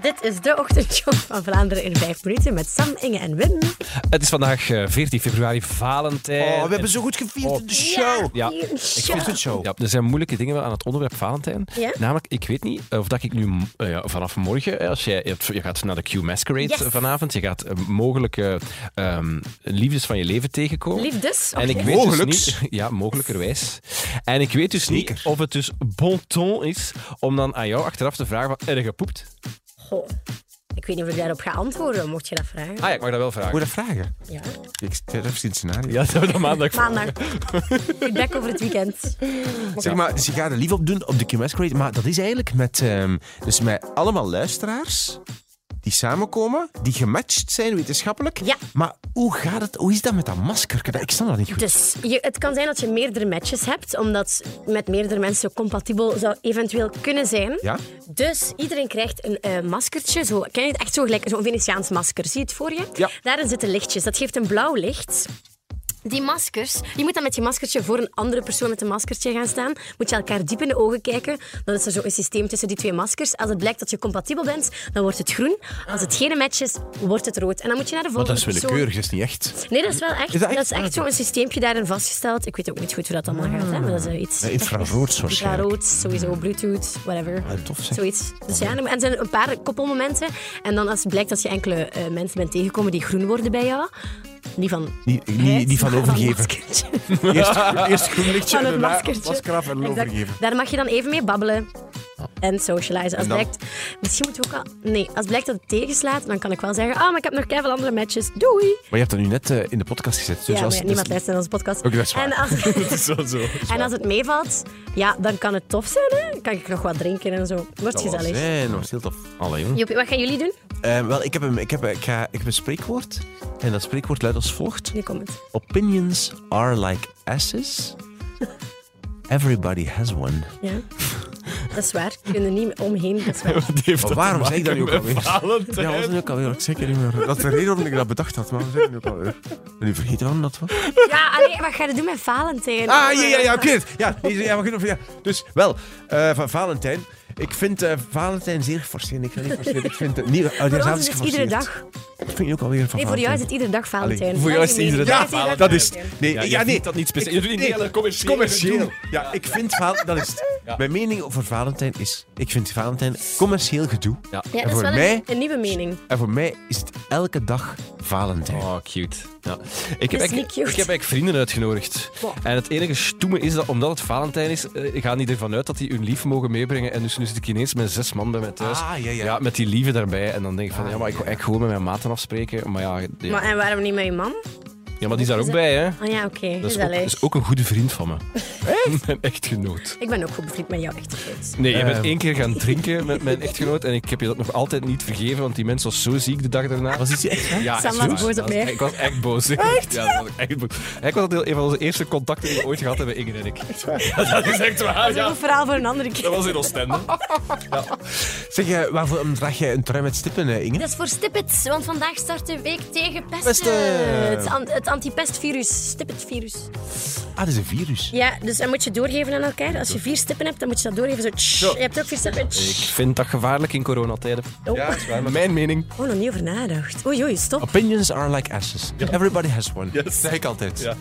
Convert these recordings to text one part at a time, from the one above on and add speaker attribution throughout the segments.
Speaker 1: Dit is de ochtendshow van Vlaanderen in 5 minuten met Sam, Inge en Wim.
Speaker 2: Het is vandaag eh, 14 februari, Valentijn.
Speaker 3: Oh, we hebben zo goed gevierd
Speaker 2: Oh.
Speaker 3: in de show.
Speaker 2: Ja,
Speaker 1: hier,
Speaker 2: ik
Speaker 1: show.
Speaker 3: Goed zo.
Speaker 2: Ja, er zijn moeilijke dingen wel aan het onderwerp Valentijn.
Speaker 1: Ja?
Speaker 2: Namelijk, ik weet niet of dat ik nu eh, ja, vanaf morgen, eh, als jij, je gaat naar de Q Masquerade
Speaker 1: Yes.
Speaker 2: vanavond, je gaat eh, mogelijke ehm, liefdes van je leven tegenkomen.
Speaker 1: Liefdes.
Speaker 2: En ik
Speaker 1: Oké.
Speaker 2: weet
Speaker 3: Mogelijks.
Speaker 2: dus niet, ja, mogelijkerwijs. En ik weet dus niet
Speaker 3: Zeker.
Speaker 2: of het dus bon ton is om dan aan jou achteraf te vragen: van, heb je gepoept?
Speaker 1: Goh. Ik weet niet of ik daarop ga antwoorden, mocht je dat vragen.
Speaker 2: Ah ja, ik mag dat wel vragen.
Speaker 3: Moet je dat vragen?
Speaker 1: Ja.
Speaker 3: Ik stel even het scenario.
Speaker 2: Ja, dat hebben we dan maandag. voor.
Speaker 1: Maandag. Feedback over het weekend.
Speaker 3: Zeg maar, ze gaan er lief op doen op de QMS Create. Maar dat is eigenlijk met, ehm, dus met allemaal luisteraars die samenkomen, die gematcht zijn wetenschappelijk.
Speaker 1: Ja.
Speaker 3: Maar hoe gaat het? Hoe is dat met dat masker? Ik snap dat niet goed.
Speaker 1: Dus je, het kan zijn dat je meerdere matches hebt, omdat met meerdere mensen compatibel zou eventueel kunnen zijn.
Speaker 3: Ja?
Speaker 1: Dus iedereen krijgt een eh, maskertje. Zo, ken je het echt zo gelijk? Zo'n Venetiaans masker. Zie je het voor je?
Speaker 3: Ja.
Speaker 1: Daarin zitten lichtjes. Dat geeft een blauw licht. Die maskers, je moet dan met je maskertje voor een andere persoon met een maskertje gaan staan. Moet je elkaar diep in de ogen kijken. Dan is er zo een systeem tussen die twee maskers. Als het blijkt dat je compatibel bent, dan wordt het groen. Als het geen match is, wordt het rood. En dan moet je naar de
Speaker 3: Want
Speaker 1: volgende
Speaker 3: dat is
Speaker 1: persoon.
Speaker 3: willekeurig, dat is niet echt.
Speaker 1: Nee, dat is wel echt,
Speaker 3: Is
Speaker 1: dat
Speaker 3: dat echt?
Speaker 1: is echt zo'n systeempje daarin vastgesteld. Ik weet ook niet goed hoe dat allemaal
Speaker 3: Ah.
Speaker 1: gaat. Hè? Maar dat is eh, iets.
Speaker 3: Ja, infraroods waarschijnlijk.
Speaker 1: Infrarood, sowieso, Bluetooth, whatever.
Speaker 3: Ah, tof, zeg. Ah,
Speaker 1: Zoiets. Dus ja, en er zijn een paar koppelmomenten. En dan als het blijkt dat je enkele eh, mensen bent tegengekomen die groen worden bij jou. Niet van.
Speaker 3: Niet, niet, niet van
Speaker 1: maar
Speaker 3: overgeven.
Speaker 1: maskertje.
Speaker 3: Eerst, eerst groen lichtje
Speaker 1: Van
Speaker 3: en
Speaker 1: het
Speaker 3: daarna
Speaker 1: maskertje.
Speaker 3: masker af en dan
Speaker 1: Exact.
Speaker 3: overgeven. Ah.
Speaker 1: Daar mag je dan even mee babbelen. En socializen. Als
Speaker 3: En dan?
Speaker 1: blijkt, misschien moeten we ook al. Nee, als blijkt dat het tegenslaat, dan kan ik wel zeggen: Ah, maar ik heb nog keihard andere matches. Doei!
Speaker 3: Maar je hebt dat nu net eh, in de podcast gezet. Dus
Speaker 1: Ja, maar
Speaker 3: als,
Speaker 1: ja, niemand luistert naar onze podcast.
Speaker 3: Oké, dat is waar.
Speaker 1: En als,
Speaker 3: is zo, zo.
Speaker 1: En als het meevalt, ja, dan kan het tof zijn, hè? Kan ik nog wat drinken en zo. Wordt gezellig.
Speaker 3: Nee, dat was heel tof.
Speaker 2: Allee, jongen.
Speaker 1: Joepie, wat gaan jullie doen?
Speaker 3: Eh, wel, ik heb, een, ik, heb, ik, ga, ik heb een spreekwoord. En dat spreekwoord luidt als volgt.
Speaker 1: Nu komt het.
Speaker 3: Opinions are like asses. Everybody has one.
Speaker 1: Ja. Dat is waar. We kunnen niet omheen. Dat is waar.
Speaker 3: Maar waarom zeg ik dat nu ook alweer? Ja, was dat nu ook alweer? Ik zeker niet meer. Dat is de reden waarom ik dat bedacht had, maar we zijn nu ook alweer. Ben je vergeten waarom dat was?
Speaker 1: Ja, allee, wat ga je doen met Valentijn?
Speaker 3: Ah, ja, ja, ja, oké. Ja, nee, ja, maar goed, ja. Dus, wel, eh, van Valentijn. Ik vind eh, Valentijn zeer geforceerd. Ik ga niet forceren. Ik vind het niet... Oh,
Speaker 1: Voor ons is het iedere dag.
Speaker 3: Dat vind je ook alweer van
Speaker 1: Nee, voor jou is
Speaker 3: Valentijn.
Speaker 1: het iedere dag Valentijn.
Speaker 3: Allee,
Speaker 2: voor jou is het
Speaker 1: Nee,
Speaker 2: iedere
Speaker 1: nee,
Speaker 2: dag
Speaker 1: nee,
Speaker 2: Valentijn.
Speaker 3: Dat is het. Nee,
Speaker 2: Ja,
Speaker 3: ja,
Speaker 2: jij
Speaker 3: nee.
Speaker 2: vindt dat niet speciaal. Je vindt niet dat commercieel.
Speaker 3: commercieel.
Speaker 2: gedoe.
Speaker 3: Ja, ik vind Val- dat is het. Mijn mening over Valentijn is: ik vind Valentijn commercieel gedoe.
Speaker 1: Ja,
Speaker 3: En
Speaker 1: dat is
Speaker 3: voor
Speaker 1: wel
Speaker 3: mij
Speaker 1: een, een nieuwe mening.
Speaker 3: en voor mij is het elke dag Valentijn.
Speaker 2: Oh, cute. Ja. Ik, heb
Speaker 1: is
Speaker 2: eigenlijk-
Speaker 1: niet cute.
Speaker 2: ik heb eigenlijk vrienden uitgenodigd.
Speaker 1: Wow.
Speaker 2: En het enige stoeme is dat, omdat het Valentijn is, eh, gaan die ervan uit dat die hun lief mogen meebrengen. En dus nu zit ik ineens met zes man bij mij thuis.
Speaker 3: Ah, ja, ja.
Speaker 2: met die lieve daarbij. En dan denk ik van, ja, maar ik wil eigenlijk gewoon met mijn maten afspreken. Maar ja, ja.
Speaker 1: Maar, en waarom niet met je man?
Speaker 2: ja, maar die is daar ook bij, hè.
Speaker 1: Ah ja, oké.
Speaker 2: Dat is ook,
Speaker 1: Gezellig.
Speaker 2: is ook een goede vriend van me. Echt? Mijn echtgenoot.
Speaker 1: Ik ben ook goed bevriend met jou, echt goed.
Speaker 2: Nee, je bent
Speaker 3: Ehm.
Speaker 2: één keer gaan drinken met mijn echtgenoot. En ik heb je dat nog altijd niet vergeven, want die mens was zo ziek de dag daarna.
Speaker 3: Was dit echt?
Speaker 2: Ja,
Speaker 1: Sam
Speaker 2: echt
Speaker 1: was
Speaker 2: waar.
Speaker 1: boos op
Speaker 2: Dat was-
Speaker 1: mij.
Speaker 2: Ik was echt boos. Echt? Ja, dat was ik echt boos. Eigenlijk was dat een van onze eerste contacten die we ooit gehad hebben, Inge en ik. Ja, dat is echt waar,
Speaker 1: Dat is ook
Speaker 2: ja.
Speaker 1: een verhaal voor een andere keer.
Speaker 2: Dat was in Oostende.
Speaker 3: Zeg, eh, waarom draag jij een trui met stippen, eh, Inge?
Speaker 1: Dat is voor stippets, want vandaag start de week tegen pesten.
Speaker 3: Pesten.
Speaker 1: Het, an- het antipestvirus, stippetvirus.
Speaker 3: Ah, dat is een virus.
Speaker 1: Ja, dus dat moet je doorgeven aan elkaar. Als je vier stippen hebt, dan moet je dat doorgeven. Zo, tsch.
Speaker 3: Zo.
Speaker 1: Je hebt ook vier stippen. tsch.
Speaker 2: Ik vind dat gevaarlijk in coronatijden.
Speaker 1: Oh.
Speaker 3: is waar.
Speaker 2: Mijn mening.
Speaker 1: oh, nog niet over nagedacht. Oei, oei, stop.
Speaker 3: Opinions are like asses. Everybody has one. Dat zeg ik altijd.
Speaker 2: Ja.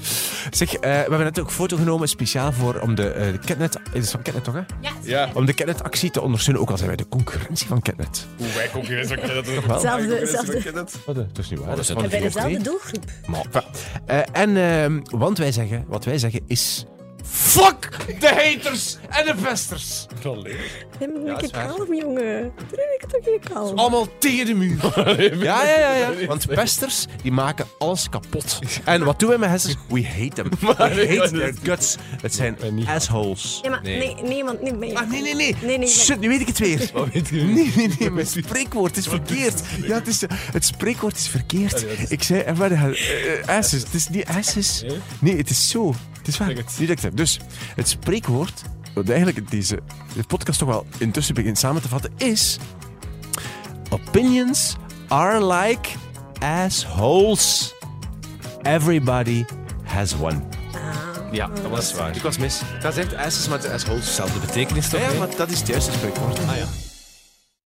Speaker 3: Zeg, eh, we hebben net ook een foto genomen speciaal voor om de, eh, de Catnet... Is het van Catnet toch, hè?
Speaker 1: Ja,
Speaker 2: Ja.
Speaker 3: Om de Catnet-actie te ondersteunen, ook al zijn wij de concurrentie van Catnet.
Speaker 2: Hoe wij concurrentie van kennen dat
Speaker 3: wel.
Speaker 1: Zelfde- zelfde-
Speaker 3: Oh, dat is niet waar.
Speaker 2: dat is
Speaker 3: van
Speaker 2: een-
Speaker 1: Bij
Speaker 3: VRT.
Speaker 1: dezelfde doelgroep.
Speaker 3: Maar, enfin, eh, en, ehm, want wij zeggen, wat wij zeggen is... Fuck de haters en de vesters.
Speaker 1: Wim, moet ik
Speaker 3: is waar.
Speaker 1: kalm, jongen. Doe ik toch weer kalm.
Speaker 3: Allemaal tegen de muur. Ja, ja, ja, ja. Want pesters, die maken alles kapot. En wat doen wij met hersens? We hate them. We hate their guts. Het zijn
Speaker 2: wij niet.
Speaker 3: assholes.
Speaker 1: Ja, maar nee,
Speaker 2: Nee.
Speaker 1: nee, want niet meer.
Speaker 3: Ah, nee, nee, nee.
Speaker 1: Nee, nee,
Speaker 3: Shit, nu Oh, weet ik het weer.
Speaker 2: weet je?
Speaker 3: Nee, nee, nee, mijn spreekwoord is verkeerd. Ja, het, is, eh, het spreekwoord is verkeerd. Ik zei, en waar de hel- eh, eh, asses. Het is niet asses. Nee, het is zo. Het is waar.
Speaker 2: Zeg
Speaker 3: Nu
Speaker 2: het.
Speaker 3: dat ik het heb. Dus, het spreekwoord, wat eigenlijk deze de podcast toch wel intussen begint samen te vatten, is... Opinions are like assholes. Everybody has one.
Speaker 2: Ja, dat was waar.
Speaker 3: was mis. Dat is echt asses, maar het is assholes.
Speaker 2: Zelfde betekenis toch?
Speaker 3: Ja,
Speaker 2: hè?
Speaker 3: maar dat is het juiste spreekwoord.
Speaker 2: Ah, ja.